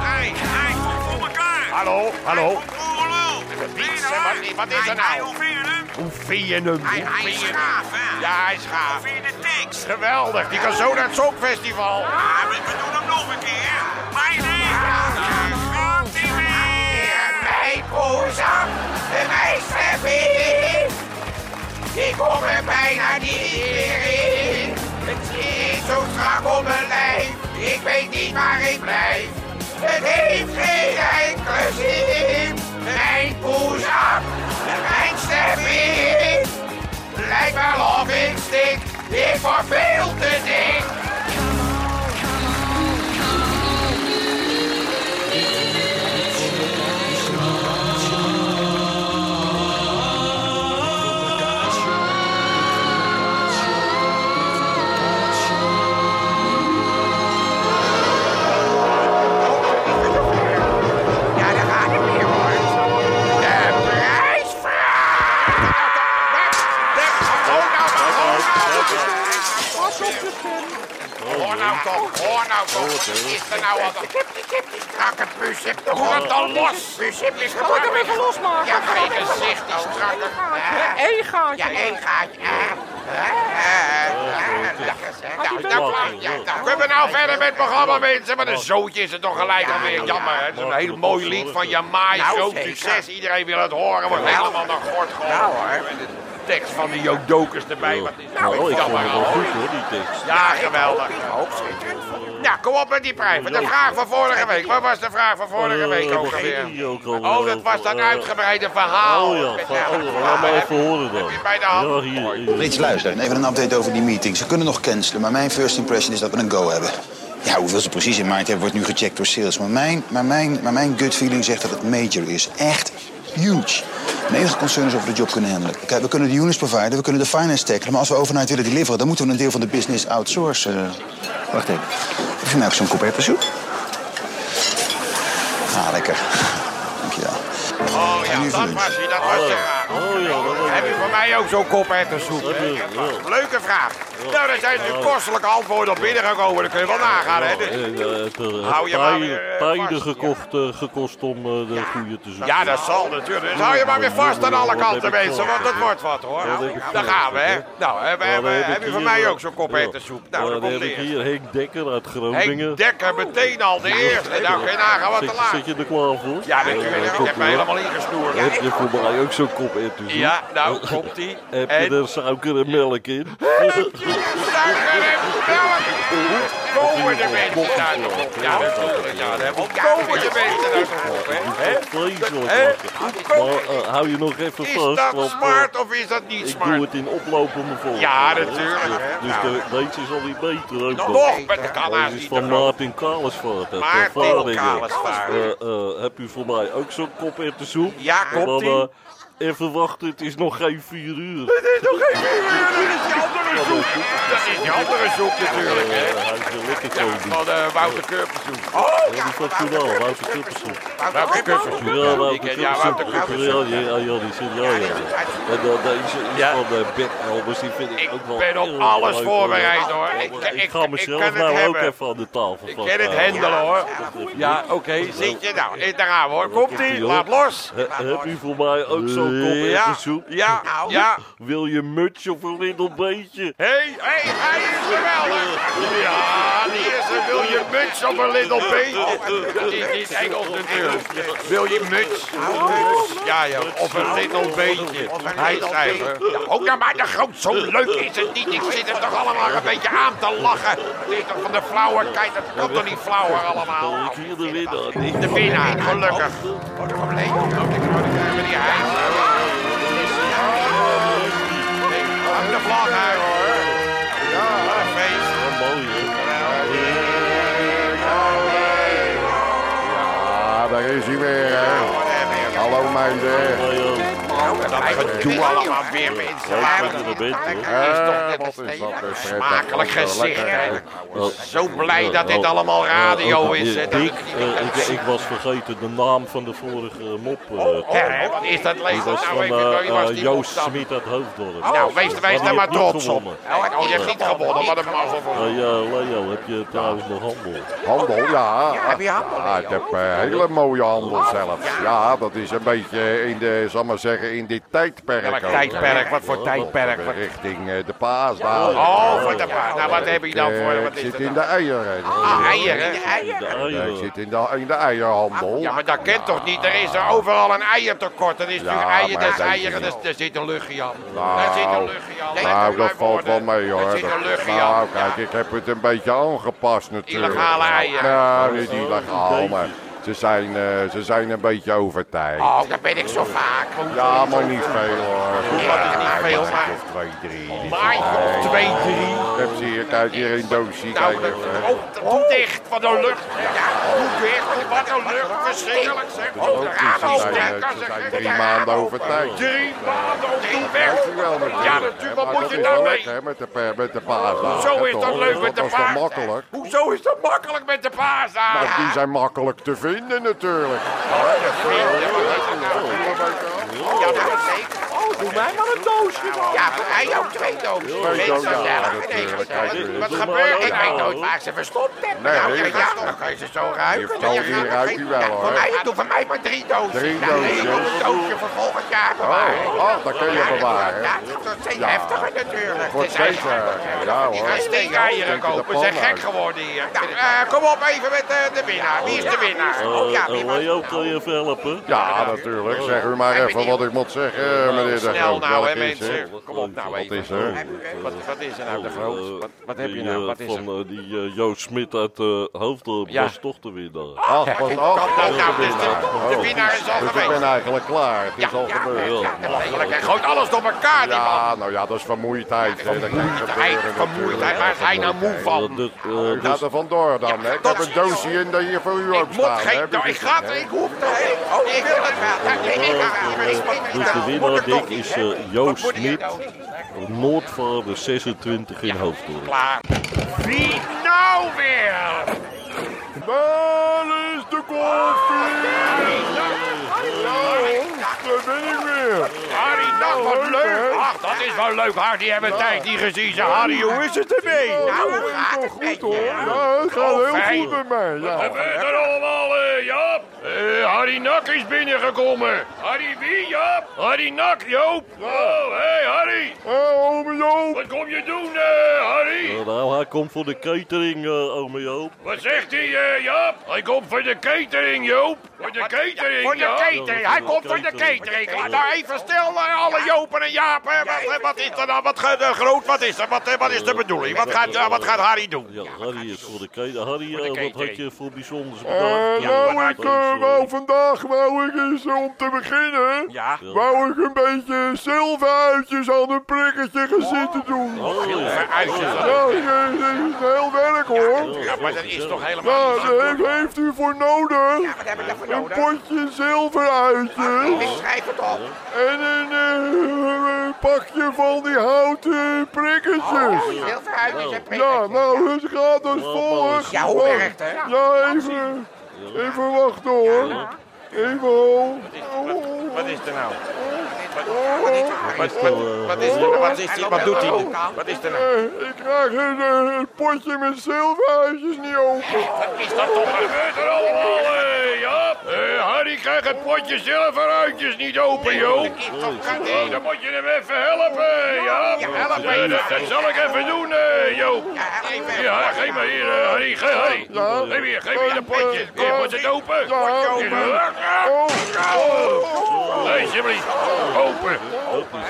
Speaker 3: Hey, hey, voor elkaar.
Speaker 1: Hallo, hallo. Wietse, wat-
Speaker 3: Hallo.
Speaker 1: wat is er nou? Hoe vind je hem? Hoe
Speaker 3: Hij, hij
Speaker 1: vind
Speaker 3: is
Speaker 1: je hem?
Speaker 3: gaaf, hè?
Speaker 1: Ja, hij is gaaf.
Speaker 3: Of in de tekst.
Speaker 1: Geweldig. Die kan zo naar het Songfestival.
Speaker 3: Ja, Ah, we, we doen hem nog een keer. Mijn eigen. Daar gaat hij weer. Mijn boezem. En mijn stempel. Ik kom er bijna niet meer in. Het zit zo strak op mijn lijf. Ik weet niet waar ik blijf. Het heeft geen enkele zin. Mijn boezem. En mijn stempel. Lijkt wel of ik stik. Ik word veel te dik. Ja, daar gaat het weer hoor. De prijsvraag!
Speaker 1: Hoor nou toch, hoor nou toch. Hoor nou toch, hoor nou toch. Wat is er nou al? Strakke puus, heb toch wat dan los? Puus, heb je
Speaker 6: Moet ik hem even losmaken?
Speaker 1: Ja, geen gezicht, die strakke.
Speaker 6: Ja, één gaatje.
Speaker 3: Ja, één gaatje. Eh, eh, eh, eh, Lekker zeg. Nou, nou, nou, ja, nou.
Speaker 1: Kunnen we nou verder met het programma, mensen? Wat een zootje is het toch gelijk alweer. Jammer, hè? Het is een heel mooi lied van Jamai.
Speaker 3: Nou,
Speaker 1: Groot
Speaker 3: zeker.
Speaker 1: succes. Iedereen wil het horen. Wordt helemaal naar gort
Speaker 3: Nou
Speaker 1: gehoord.
Speaker 3: hoor.
Speaker 1: Tekst van de Jodokers erbij. Wat is
Speaker 2: Nou,
Speaker 1: nou
Speaker 2: ik vond
Speaker 1: jammer,
Speaker 2: het wel
Speaker 1: hoor.
Speaker 2: goed hoor, die tekst.
Speaker 1: Ja, geweldig. Nou, kom op met die prijs. Met de vraag van vorige week. Wat was de vraag van vorige
Speaker 2: Eh,
Speaker 1: week ook
Speaker 2: begin die
Speaker 1: alweer?
Speaker 2: ook al,
Speaker 1: Oh, dat
Speaker 2: eh,
Speaker 1: was dat
Speaker 2: eh,
Speaker 1: uitgebreide verhaal.
Speaker 2: Oh ja,
Speaker 1: Met-
Speaker 2: van- oh ja, laat maar even horen dan.
Speaker 1: Heb je bij de hand?
Speaker 2: Ja, hier. hier.
Speaker 7: Frits, luister. Even een update over die meeting. Ze kunnen nog cancelen, maar mijn first impression is dat we een go hebben. Ja, hoeveel ze precies in mind hebben, wordt nu gecheckt door sales. Maar mijn, maar mijn, maar mijn gut feeling zegt dat het major is. Echt huge. En enige concerns over de job kunnen handelen. Kijk, we kunnen de units providen, we kunnen de finance tackelen. Maar als we overheid willen deliveren, dan moeten we een deel van de business outsourcen. Wacht even. Heb je mij op zo'n coupertje zoek? Ah, lekker. Dankjewel.
Speaker 1: Oh
Speaker 7: Ga je nu
Speaker 1: ja,
Speaker 7: voor
Speaker 1: dat
Speaker 7: lunch?
Speaker 1: was je, dat was je graag.
Speaker 2: Oh ja, dat
Speaker 1: Heb je voor mij ook zo'n kop hertensoep? hè?
Speaker 2: Ja, ja.
Speaker 1: Leuke vraag. Nou, daar zijn natuurlijk kostelijke antwoorden op binnengekomen. Dat kun je wel nagaan, hè?
Speaker 2: En, eh, het, eh, het
Speaker 1: Hou je maar weer, eh,
Speaker 2: tijden
Speaker 1: vast.
Speaker 2: gekocht, eh, gekost om eh, de goede te zoeken.
Speaker 1: Ja, dat zal natuurlijk. Dus hou je maar weer vast aan alle kanten, mensen, want het wordt wat, hoor.
Speaker 2: Ja, dat heb ik
Speaker 1: Daar
Speaker 2: gehoord,
Speaker 1: gaan we, hè.
Speaker 2: hè.
Speaker 1: Nou, hè, we
Speaker 2: Ja, dan
Speaker 1: hebben-
Speaker 2: ik
Speaker 1: heb je
Speaker 2: hier,
Speaker 1: voor mij
Speaker 2: eh,
Speaker 1: ook zo'n kop
Speaker 2: ja.
Speaker 1: hertensoep? Nou,
Speaker 2: Ja,
Speaker 1: dat
Speaker 2: dan
Speaker 1: komt
Speaker 2: heb ik
Speaker 1: eerst.
Speaker 2: hier Henk Dekker uit Groningen.
Speaker 1: Henk Dekker meteen al de eerste. Nou, geen nagaan wat te
Speaker 2: Zit-
Speaker 1: laat.
Speaker 2: Zit je er klaar voor? Eh,
Speaker 1: Ja, natuurlijk. Ik heb me helemaal ingesnoerd.
Speaker 2: Heb je voor mij ook zo'n kop erwtensoep?
Speaker 1: Ja, nou, komt-ie.
Speaker 2: Heb
Speaker 1: En-
Speaker 2: je er suiker en melk in?
Speaker 1: Suiker en melk. Komen de mensen uit de kop. Ja, natuurlijk. Ja, daar komen de mensen uit de kop, hè. Hè?
Speaker 2: Vreselijk
Speaker 1: Hè?
Speaker 2: lachen. Maar eh, hou je nog even
Speaker 1: Is
Speaker 2: vast.
Speaker 1: dat
Speaker 2: want, eh,
Speaker 1: smart of is dat niet
Speaker 2: Ik doe
Speaker 1: smart?
Speaker 2: het in oplopende volgorde.
Speaker 1: Ja, natuurlijk, hè.
Speaker 2: Dus
Speaker 1: Nou.
Speaker 2: de, deze is alweer beter ook.
Speaker 1: Nog,
Speaker 2: dan.
Speaker 1: nog, maar dat kan haast
Speaker 2: Deze is
Speaker 1: niet.
Speaker 2: van Maarten Kalesvaart. uit
Speaker 1: Maarten
Speaker 2: Vlaardingen.
Speaker 1: Kalesvaart.
Speaker 2: Eh, eh, heb u voor mij ook zo'n kop in de soep?
Speaker 1: Ja,
Speaker 2: Maar,
Speaker 1: komt-ie.
Speaker 2: eh, even wachten, het is nog geen vier uur.
Speaker 1: Dit is nog geen vier uur, dat is die andere zoek. Dat is die andere zoek natuurlijk, hè.
Speaker 2: Eh, hij is wel lekker zo. die.
Speaker 1: Van eh, Wouter Kurpersoep.
Speaker 2: Ja, die van Journaal, Wouter Kuppersoep.
Speaker 1: Wouter Kurpersoep.
Speaker 2: Ja,
Speaker 1: Die
Speaker 2: Wouter
Speaker 1: ken- ja, Wouter
Speaker 2: Kuppersoep. Ja,
Speaker 1: Kuppersoep.
Speaker 2: ja, ja, ja, die zit, ja, ja. En dan deze is
Speaker 1: Ja.
Speaker 2: van eh Bert Elbers, die vind ik,
Speaker 1: Ik
Speaker 2: ook wel
Speaker 1: ben op
Speaker 2: erg
Speaker 1: alles
Speaker 2: leuk,
Speaker 1: voorbereid,
Speaker 2: eh,
Speaker 1: hoor.
Speaker 2: eh,
Speaker 1: Ik-
Speaker 2: Ik,
Speaker 1: ik-
Speaker 2: ga
Speaker 1: ik
Speaker 2: mezelf
Speaker 1: kan het
Speaker 2: nou
Speaker 1: hebben.
Speaker 2: ook even aan de tafel
Speaker 1: Ik
Speaker 2: vasthouden.
Speaker 1: ken het hendelen, hoor. Ja, oké. Zit je nou? Eh, Daar gaan we, hoor. Komt-ie. Laat los.
Speaker 2: He- heb u voor mij ook zo'n kop
Speaker 1: Ja, Nou.
Speaker 2: erwtensoep?
Speaker 1: ja, ja.
Speaker 2: Wil je een muts of een middelbeentje?
Speaker 1: Hé, hé, hij is geweldig! Ja, die is een wil je muts op een little beentje. Dat is niet Engels natuurlijk. Wil je muts? Ja, ja, of een little beentje. Hij schrijft. Ja, ook nou maar de groot, zo leuk is het niet. Ik zit er toch allemaal een beetje aan te lachen. Het is toch van de flauwekijk, dat kan toch niet flauwer allemaal?
Speaker 2: Wil ik hier de winnaar? niet?
Speaker 1: De winnaar, gelukkig. Wat een probleem. Die hij. Hang de vlag uit hoor. Ja, wat een feest.
Speaker 2: Wat mooi, hè?
Speaker 4: Ah, daar is hij weer, hè. Hallo, meiden.
Speaker 2: Maar, eh,
Speaker 1: Dat gedoe allemaal weer met
Speaker 2: ja,
Speaker 1: Instagram.
Speaker 2: ik ben er beter, hoor.
Speaker 4: Eh, wat is dat een
Speaker 1: Smakelijk gezicht. hè.
Speaker 2: Wel,
Speaker 1: Zo blij dat dit
Speaker 2: wel,
Speaker 1: allemaal radio
Speaker 2: eh,
Speaker 1: is.
Speaker 2: eh,
Speaker 1: hè. Dat
Speaker 2: Dick,
Speaker 1: het niet
Speaker 2: eh,
Speaker 1: kan
Speaker 2: ik,
Speaker 1: zien.
Speaker 2: ik was vergeten de naam van de vorige mop. eh,
Speaker 1: Oh,
Speaker 2: te-
Speaker 1: Hè, Wat is dat lezen
Speaker 2: die was
Speaker 1: nou
Speaker 2: van
Speaker 1: even?
Speaker 2: eh,
Speaker 1: Wie was
Speaker 2: eh,
Speaker 1: die
Speaker 2: Joost
Speaker 1: opstand?
Speaker 2: Smit uit Hoofddorp.
Speaker 1: Nou, wees, wees
Speaker 2: die
Speaker 1: daar maar
Speaker 2: heeft niet
Speaker 1: trots op.
Speaker 2: gewonnen.
Speaker 1: Oh, je hebt niet gewonnen, wat een mazzel voor
Speaker 2: Eh, ja, Leo, heb je trouwens nog handel?
Speaker 4: Handel, ja.
Speaker 3: heb je handel,
Speaker 4: Ah, ik heb eh, hele mooie handel
Speaker 1: Oh,
Speaker 4: zelf. Ja, dat is een beetje in de, zal maar zeggen, in dit tijdperk.
Speaker 1: Welk
Speaker 4: ook.
Speaker 1: tijdperk? Wat voor tijdperk?
Speaker 4: Eh, Richting eh, de paasdagen.
Speaker 1: Oh, voor de paard. Nou, wat heb je dan
Speaker 4: Ik, eh,
Speaker 1: voor? Wat
Speaker 4: Ik
Speaker 1: is
Speaker 4: zit
Speaker 1: dat
Speaker 4: in
Speaker 1: dan?
Speaker 4: de eieren.
Speaker 1: Ah, eieren.
Speaker 2: De
Speaker 4: Ja,
Speaker 2: eieren.
Speaker 4: ik zit in de, in de eierhandel.
Speaker 1: Ja, maar dat kent toch niet? Er is er overal een eiertekort. Er is nu
Speaker 4: Ja,
Speaker 1: eieren,
Speaker 4: maar
Speaker 1: daar is
Speaker 4: dat is
Speaker 1: eieren,
Speaker 4: niet.
Speaker 1: daar- daar zit een luchtje aan.
Speaker 4: Nou,
Speaker 1: Daar zit een luchtje aan.
Speaker 4: Nou, dat valt wel mee hoor.
Speaker 1: Er zit een
Speaker 4: Dat-
Speaker 1: luchtje
Speaker 4: Nou,
Speaker 1: aan.
Speaker 4: kijk, ik heb het een beetje aangepast natuurlijk.
Speaker 1: Illegale eieren.
Speaker 4: Nou, niet
Speaker 2: Oh,
Speaker 4: illegaal,
Speaker 2: een
Speaker 4: maar ze zijn, eh, ze zijn een beetje overtijd.
Speaker 1: Oh, dat ben ik zo vaak. Oh
Speaker 4: Ja, maar niet veel hoor.
Speaker 1: dat is niet
Speaker 4: Ja,
Speaker 1: veel,
Speaker 4: een
Speaker 1: maar-
Speaker 4: maandje of twee, drie. Dit is
Speaker 1: Maatje
Speaker 4: wel-
Speaker 1: of twee, drie.
Speaker 4: Ik heb ze hier, kijk hier in doosje.
Speaker 1: Nou,
Speaker 4: Kijk eh,
Speaker 1: dat-
Speaker 4: even.
Speaker 1: oh, dat- doe dicht van de lucht. Ja, doe dicht. Wat een lucht. Verschrikkelijk zeg. Oh, de
Speaker 4: Ze
Speaker 1: ramen open.
Speaker 4: zijn, eh,
Speaker 1: kan
Speaker 4: ze
Speaker 1: zeggen.
Speaker 4: zijn
Speaker 1: De
Speaker 4: drie
Speaker 1: ramen
Speaker 4: maanden
Speaker 1: open.
Speaker 4: overtijd.
Speaker 1: Oh, Drie maanden open. Doe weg.
Speaker 4: Heeft u Oh, wel natuurlijk.
Speaker 1: Ja, natuurlijk.
Speaker 4: Maar
Speaker 1: Wat moet
Speaker 4: dat
Speaker 1: je
Speaker 4: is wel
Speaker 1: daarmee?
Speaker 4: lekker, hè, Met de, pa- met de paasdagen,
Speaker 1: Zo is dat
Speaker 4: toch?
Speaker 1: leuk met de
Speaker 4: Dat is toch
Speaker 1: paard.
Speaker 4: makkelijk?
Speaker 1: Hoezo is dat makkelijk met de paasdagen?
Speaker 4: Maar die zijn makkelijk te vinden natuurlijk.
Speaker 1: Oh, Ja, dat zeker.
Speaker 6: Oh, Doe mij maar een doosje dan.
Speaker 3: Ja, voor mij ook twee dozen.
Speaker 4: Twee
Speaker 3: Mensen
Speaker 4: dozen, ja,
Speaker 3: zelf.
Speaker 4: dat,
Speaker 3: Nee,
Speaker 4: eh,
Speaker 3: gezellig.
Speaker 4: kijk, eh,
Speaker 1: Wat
Speaker 2: doe
Speaker 1: gebeurt?
Speaker 2: maar
Speaker 1: Ik
Speaker 2: aan.
Speaker 1: weet nooit waar ik ze verstopt heb.
Speaker 4: Nee,
Speaker 1: nou,
Speaker 4: nee,
Speaker 1: ja,
Speaker 4: dat
Speaker 1: ja,
Speaker 4: is
Speaker 1: dan kan je ze zo
Speaker 4: Je
Speaker 1: ruiken.
Speaker 4: vertelt
Speaker 1: Dan
Speaker 4: die
Speaker 1: gaat het
Speaker 4: ruikt
Speaker 1: geen-
Speaker 4: u wel,
Speaker 1: Ja, Voor
Speaker 4: hoor.
Speaker 1: mij, doe voor mij maar drie dozen.
Speaker 4: Drie
Speaker 1: Nou, nee,
Speaker 4: dozen.
Speaker 1: ik wil een doosje voor volgend jaar bewaren.
Speaker 4: Oh, oh, dat kun je
Speaker 1: Ja, dat-
Speaker 4: bewaren.
Speaker 1: Ja, het wordt steeds
Speaker 4: Ja.
Speaker 1: heftiger natuurlijk.
Speaker 4: Wordt
Speaker 1: Het is
Speaker 4: steeds,
Speaker 1: eigenlijk-
Speaker 4: eh, ja,
Speaker 1: Die
Speaker 4: hoor.
Speaker 1: gaan steekeieren
Speaker 4: Denk je de
Speaker 1: kopen. Ze
Speaker 4: pan
Speaker 1: zijn gek
Speaker 4: uit.
Speaker 1: geworden hier. Nou, eh, kom op even met eh, de winnaar. Wie is de winnaar?
Speaker 2: Eh,
Speaker 1: Oh, ja,
Speaker 2: eh,
Speaker 1: wie was-
Speaker 2: Leo, kan je even helpen? Eh,
Speaker 4: Ja, natuurlijk. Zeg u maar even wat ik moet zeggen, eh, meneer de
Speaker 1: Snel
Speaker 4: Groot.
Speaker 1: nou, hè
Speaker 4: Welk is er?
Speaker 1: mensen. Kom op nou
Speaker 4: Wat
Speaker 1: even.
Speaker 4: is er?
Speaker 1: Wat, wat is er nou de groot? Wat, wat heb je
Speaker 2: Oh, Die,
Speaker 1: nou?
Speaker 2: eh,
Speaker 1: Wat is er?
Speaker 2: Van eh, die eh, Joost Smit uit eh Hoofddorp
Speaker 1: Ja. Ah,
Speaker 2: was toch de winnaar.
Speaker 4: Ach, wat
Speaker 1: Kan
Speaker 4: af.
Speaker 1: dat nou? Dus de, de
Speaker 4: Oh.
Speaker 1: winnaar is al
Speaker 4: Dus ik ben
Speaker 1: geweest.
Speaker 4: eigenlijk klaar. Het is al gebeurd.
Speaker 2: Ja.
Speaker 1: Belachelijk, Hij gooit alles door elkaar, die man.
Speaker 4: Ja, nou ja, dat is vermoeidheid. hè. Dat kan
Speaker 1: Vermoeidheid,
Speaker 4: gebeuren
Speaker 1: vermoeidheid. Waar is hij nou moe
Speaker 2: Eh,
Speaker 1: van?
Speaker 2: dus, eh,
Speaker 4: U
Speaker 2: dus
Speaker 4: gaat er vandoor dan, hè? Ik
Speaker 1: dat
Speaker 4: heb een
Speaker 1: zie je.
Speaker 4: doosje in dat hier voor u ook
Speaker 1: Ik moet
Speaker 4: staan.
Speaker 1: geen...
Speaker 4: hè.
Speaker 1: Nou, ik ga... Ik hoef dat niet. Ik wil het wel.
Speaker 2: Dus de winnaar, Dick, is eh, Joost Smit.
Speaker 1: nou?
Speaker 2: Noordvaarder 26 in Hoofddorp.
Speaker 1: Klaar. Wie nou weer?
Speaker 4: Waar is de koffie? Nou, daar ben ik weer.
Speaker 1: Harry, dat wat leuk. Ach, dat is wel leuk. Harry, die hebben tijd niet gezien. Zeg, Harry, hoe is het ermee?
Speaker 4: Nou, dat gaat toch goed hoor. Ja, het gaat heel goed met mij. Ja.
Speaker 1: gebeurt er allemaal, eh, Jaap? Eh, Harry Nak is binnengekomen. Harry wie, Jaap? Harry Nak, Joop. Oh, hé, hey, Harry.
Speaker 4: Hé, ome Joop.
Speaker 1: Wat kom je doen, eh, Harry?
Speaker 2: Eh, Nou, hij komt voor de catering, eh ome Joop.
Speaker 1: Wat zegt hij, eh, Jaap? Hij komt voor de catering, Joop. Voor de catering,
Speaker 3: voor de
Speaker 1: Jaap.
Speaker 3: catering.
Speaker 2: Hij komt voor de catering.
Speaker 1: Laat nou even stil, eh, alle Jopen en Japen. Wat, eh, wat is er nou? Wat ge- eh, groot? Wat is er? Wat, eh, wat is de bedoeling? Wat gaat, eh, wat gaat Harry doen?
Speaker 2: Ja, Harry is voor de catering. Harry,
Speaker 1: Voor de
Speaker 2: eh, wat
Speaker 1: catering.
Speaker 2: had je voor bijzonders
Speaker 4: Eh,
Speaker 2: bedacht?
Speaker 4: nou,
Speaker 1: maar
Speaker 4: ik eh, wou vandaag, wou ik eens eh, om te beginnen,
Speaker 1: Ja.
Speaker 4: wou ik een beetje zilveruitjes aan een prikketje gaan zitten doen.
Speaker 2: Oh, ja.
Speaker 4: Ja, dat is een heel werk hoor.
Speaker 1: Ja, maar dat is toch helemaal
Speaker 4: Ja,
Speaker 1: niet...
Speaker 4: daar heeft- heeft u voor nodig
Speaker 3: Wat heb ik daarvoor
Speaker 4: een
Speaker 3: nodig? Ah,
Speaker 4: potje zilveruitjes
Speaker 3: Ik schrijf het op.
Speaker 4: en een eh, pakje van die houten prikketjes.
Speaker 3: Heel veel huisjes en
Speaker 4: Ja,
Speaker 3: prikkers.
Speaker 4: nou, het gaat als volgt.
Speaker 3: Ja, hoe werkt het?
Speaker 4: Ja, even, even wachten hoor. Even hoor.
Speaker 1: Wat is er nou?
Speaker 2: Wat,
Speaker 1: Wat is er? nou? Wat, is er? eh, wat doet hij? Wat is er nou?
Speaker 4: Eh, Ik krijg het, eh, het potje met zilveruitjes niet open.
Speaker 1: Is dat toch gebeurd er allemaal, eh, Jaap? Eh, Harry krijgt het potje zilveruitjes niet open, joh. Oh, dan moet je hem even helpen, Jaap.
Speaker 3: help
Speaker 1: Eh,
Speaker 3: me.
Speaker 1: dat, dat zal ik even doen, eh, Joop. Ja, geef maar hier, eh, Harry. Geef, Harry.
Speaker 4: Ja.
Speaker 1: Geef hier, geef hier een potje. Hier, moet het open?
Speaker 4: Ja.
Speaker 1: Ja.
Speaker 4: Oh,
Speaker 1: Oh. Nee, alsjeblieft. Open. Wat?
Speaker 3: Open.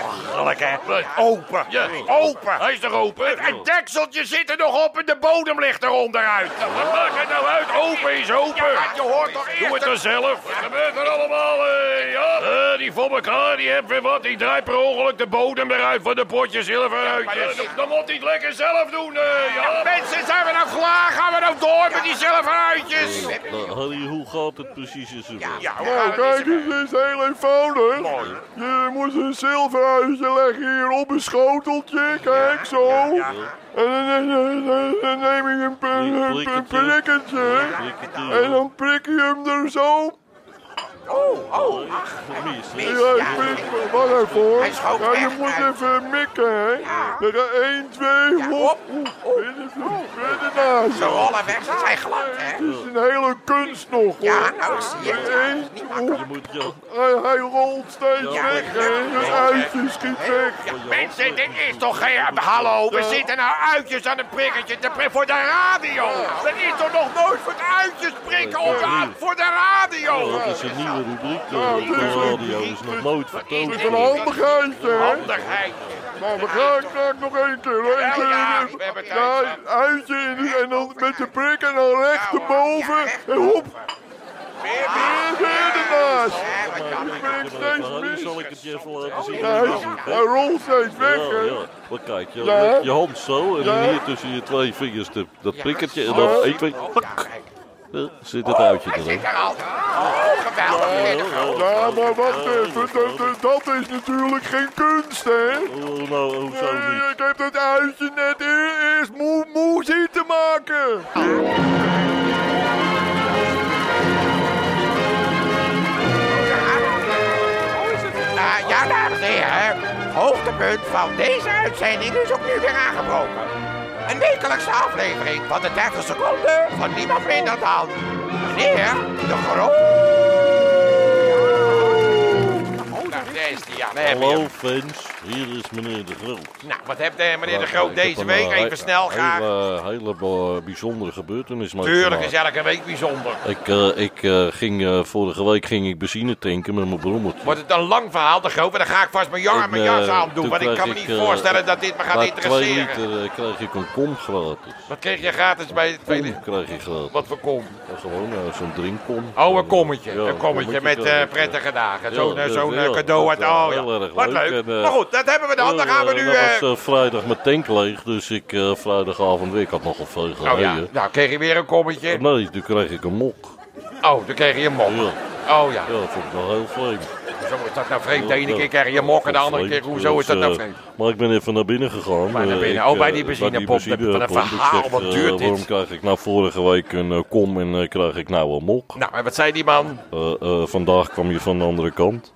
Speaker 1: Ja.
Speaker 3: Open.
Speaker 1: Hij is toch open?
Speaker 3: Het dekseltje zit er nog op en de bodem ligt er onderuit.
Speaker 1: Wat maakt het nou uit? Open is open.
Speaker 3: Ja, je hoort toch eerst
Speaker 1: Doe het dan zelf. Wat gebeurt er allemaal? eh, ja? Eh, die voor elkaar, die heeft weer wat. Die draait per ongeluk de bodem eruit van de potje zilver uit.
Speaker 3: maar dat is-
Speaker 1: Eh, dan moet hij het lekker zelf doen. eh, ja.
Speaker 3: Mensen, zijn we nou klaar? Gaan we nou door met die zilveruitjes?
Speaker 2: Nou, Harry, hoe gaat het precies in zijn werk?
Speaker 3: Ja, hoe
Speaker 4: nou,
Speaker 3: gaat het?
Speaker 4: kijk, het is heel eenvoudig. Je moet een zilveruitje leggen hier op een schoteltje, kijk zo. En dan, dan- dan- dan neem je een, pri-
Speaker 2: Een
Speaker 4: een, een
Speaker 2: prikketje.
Speaker 4: prikketje.
Speaker 2: Prikketje.
Speaker 4: En dan prik je hem er zo.
Speaker 2: Gemist, hè?
Speaker 4: Ja, ik prik, wacht even hoor.
Speaker 3: Hij schoot
Speaker 4: Ja, je
Speaker 3: weg,
Speaker 4: moet
Speaker 3: hij-
Speaker 4: even mikken, hè. Dan gaat 1, 2, hop. Verder, verder naast.
Speaker 3: De rollen weg, ze zijn glad, hè?
Speaker 4: Het is een hele kunst nog, hoor.
Speaker 3: Ja, nou, ik zie het.
Speaker 4: Eén,
Speaker 2: Je moet ja,
Speaker 4: Hij, hij rolt steeds
Speaker 2: Ja.
Speaker 4: weg, hè. Het uitje schiet weg.
Speaker 1: Mensen, dit is toch geen... Hallo, we zitten nou uitjes aan een prikketje te pri- voor de radio. Dat is toch nog nooit voor het uitjes prikken op de-
Speaker 2: Ja.
Speaker 1: voor de radio.
Speaker 2: oh, dat is een nieuwe rubriek. eh,
Speaker 4: Ja,
Speaker 2: op de
Speaker 4: tuurlijk.
Speaker 2: radio is nog nooit vertoond.
Speaker 4: Het Nou, is een handigheidje, hè.
Speaker 1: Handigheid.
Speaker 4: Maar we gaan graag nog één keer. hoor. Eén
Speaker 1: Ja,
Speaker 4: keer
Speaker 1: ja,
Speaker 4: in-
Speaker 1: we hebben tijd,
Speaker 4: ja,
Speaker 1: hè.
Speaker 4: uitje in de- en dan met de prik en dan rechterboven. En hop. Weer verder naast. Die prik steeds
Speaker 2: Harry,
Speaker 4: mis.
Speaker 2: zal ik het je even laten zien?
Speaker 4: Ja, hij, hij rolt steeds weg,
Speaker 2: Ja,
Speaker 4: hè.
Speaker 2: ja. Maar kijk, je,
Speaker 4: Ja.
Speaker 2: met je hand zo en dan
Speaker 4: Ja.
Speaker 2: hier tussen je twee vingers de, dat prikkertje en dan 1, 2, pak. Ja, zit het uitje erin.
Speaker 3: Daar al. Oh, geweldig.
Speaker 4: Ja, maar wacht even. Dat, dat- dat is natuurlijk geen kunst, hè.
Speaker 2: Oh, nou, hoezo
Speaker 4: Nee,
Speaker 2: niet?
Speaker 4: ik heb dat uitje net e- eerst moe, moe zien te maken.
Speaker 3: Nou, ja, dames en heren. Hoogtepunt van deze uitzending is opnieuw weer aangebroken. Een wekelijkse aflevering van de 30 seconden van niemand minder dan... Meneer de Groot.
Speaker 1: Nou, daar is die, ja. daar hebben we hem.
Speaker 2: Hallo fans, hier is meneer De Groot.
Speaker 1: Nou, wat heeft eh, meneer De Groot
Speaker 2: Ik heb
Speaker 1: deze
Speaker 2: een,
Speaker 1: week?
Speaker 2: eh,
Speaker 1: Even snel graag.
Speaker 2: Hele, hele eh, bijzondere gebeurtenis. maar
Speaker 1: Tuurlijk
Speaker 2: gemaakt.
Speaker 1: is elke week bijzonder.
Speaker 2: Ik, eh, ik eh, ging eh, vorige week ging ik benzine tanken met mijn brommertje.
Speaker 1: Wordt het een lang verhaal, de groot, maar dan ga ik vast mijn jar en mijn
Speaker 2: En, eh,
Speaker 1: jas aan doen.
Speaker 2: toen
Speaker 1: Want ik
Speaker 2: kreeg
Speaker 1: kan me niet
Speaker 2: eh,
Speaker 1: voorstellen dat dit me gaat
Speaker 2: bij twee
Speaker 1: interesseren.
Speaker 2: liter eh, kreeg ik een kom gratis.
Speaker 1: Wat kreeg je gratis bij het tweede?
Speaker 2: Kom kreeg ik gratis.
Speaker 1: Wat voor kom?
Speaker 2: Ja, Gewoon eh, zo'n drinkkom.
Speaker 1: Oh, een kommetje.
Speaker 2: Ja,
Speaker 1: een kommetje met
Speaker 2: kreeg
Speaker 1: eh,
Speaker 2: ik,
Speaker 1: prettige dagen.
Speaker 2: ja,
Speaker 1: Zo'n eh,
Speaker 2: dat-
Speaker 1: zo'n eh,
Speaker 2: ja,
Speaker 1: cadeau uit
Speaker 2: dat,
Speaker 1: de
Speaker 2: eh,
Speaker 1: oh, ja.
Speaker 2: heel erg
Speaker 1: Wat
Speaker 2: leuk.
Speaker 1: leuk.
Speaker 2: En, eh,
Speaker 1: maar goed, dat hebben we dan. Dan
Speaker 2: Ja,
Speaker 1: gaan we
Speaker 2: eh,
Speaker 1: nu...
Speaker 2: dat
Speaker 1: eh,
Speaker 2: was eh, vrijdag mijn tank leeg, dus ik eh, vrijdagavond weer. Ik had nog een veel
Speaker 1: eh,
Speaker 2: gereden.
Speaker 1: Oh ja, nou kreeg je weer een kommetje.
Speaker 2: Nee, toen kreeg ik een mok.
Speaker 1: Oh, toen kreeg je een mok.
Speaker 2: Ja.
Speaker 1: Oh ja,
Speaker 2: Ja, dat vond ik wel heel vreemd.
Speaker 1: zo is dat nou vreemd. De ene keer krijg je mok en de andere keer, hoezo is dat nou
Speaker 2: Dus, eh,
Speaker 1: vreemd?
Speaker 2: Maar ik ben even naar binnen gegaan.
Speaker 1: Maar naar
Speaker 2: Eh,
Speaker 1: binnen.
Speaker 2: ik,
Speaker 1: Oh, bij
Speaker 2: eh,
Speaker 1: die benzinepomp.
Speaker 2: bij die
Speaker 1: Dat- wat een
Speaker 2: benzinepomp. Ik
Speaker 1: verhaal,
Speaker 2: zeg,
Speaker 1: wat
Speaker 2: eh,
Speaker 1: duurt dit?
Speaker 2: Waarom krijg ik nou vorige week een eh, kom en eh, krijg ik nou een mok?
Speaker 1: Nou, en wat zei die man?
Speaker 2: Eh, eh, vandaag kwam je van de andere kant.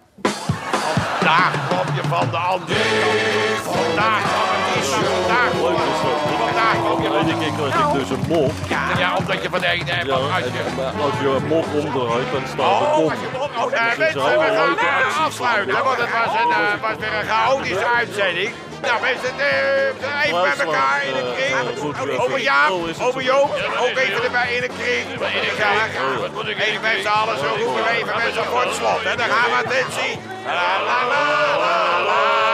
Speaker 1: Daar kwam je van de andere kant. Vandaag kwam je van de
Speaker 2: Leuk
Speaker 1: andere
Speaker 2: was dat.
Speaker 1: Vandaag kwam je
Speaker 2: De
Speaker 1: van
Speaker 2: ene keer kreeg ik dus een mok.
Speaker 1: de Ja, omdat je van de ene hebt.
Speaker 2: Ja,
Speaker 1: als je...
Speaker 2: en, maar als je een mok omdraait, dan staat er
Speaker 1: Oh,
Speaker 2: kom.
Speaker 1: als je mok... Oh, nee,
Speaker 2: is
Speaker 1: mensen,
Speaker 2: een
Speaker 1: we gaan
Speaker 2: leuke
Speaker 1: eh,
Speaker 2: actie.
Speaker 1: afsluiten. Want het was, een, eh, was weer een chaotische uitzending. Nou, mensen, eh, even bij elkaar in een kring. Over Jaap, over Joop. Ook even erbij in een kring. In een kring. Even met z'n allen zo roepen. we Even met z'n allen voor het slot. En dan gaan we het net zien. La, la, la, la, la.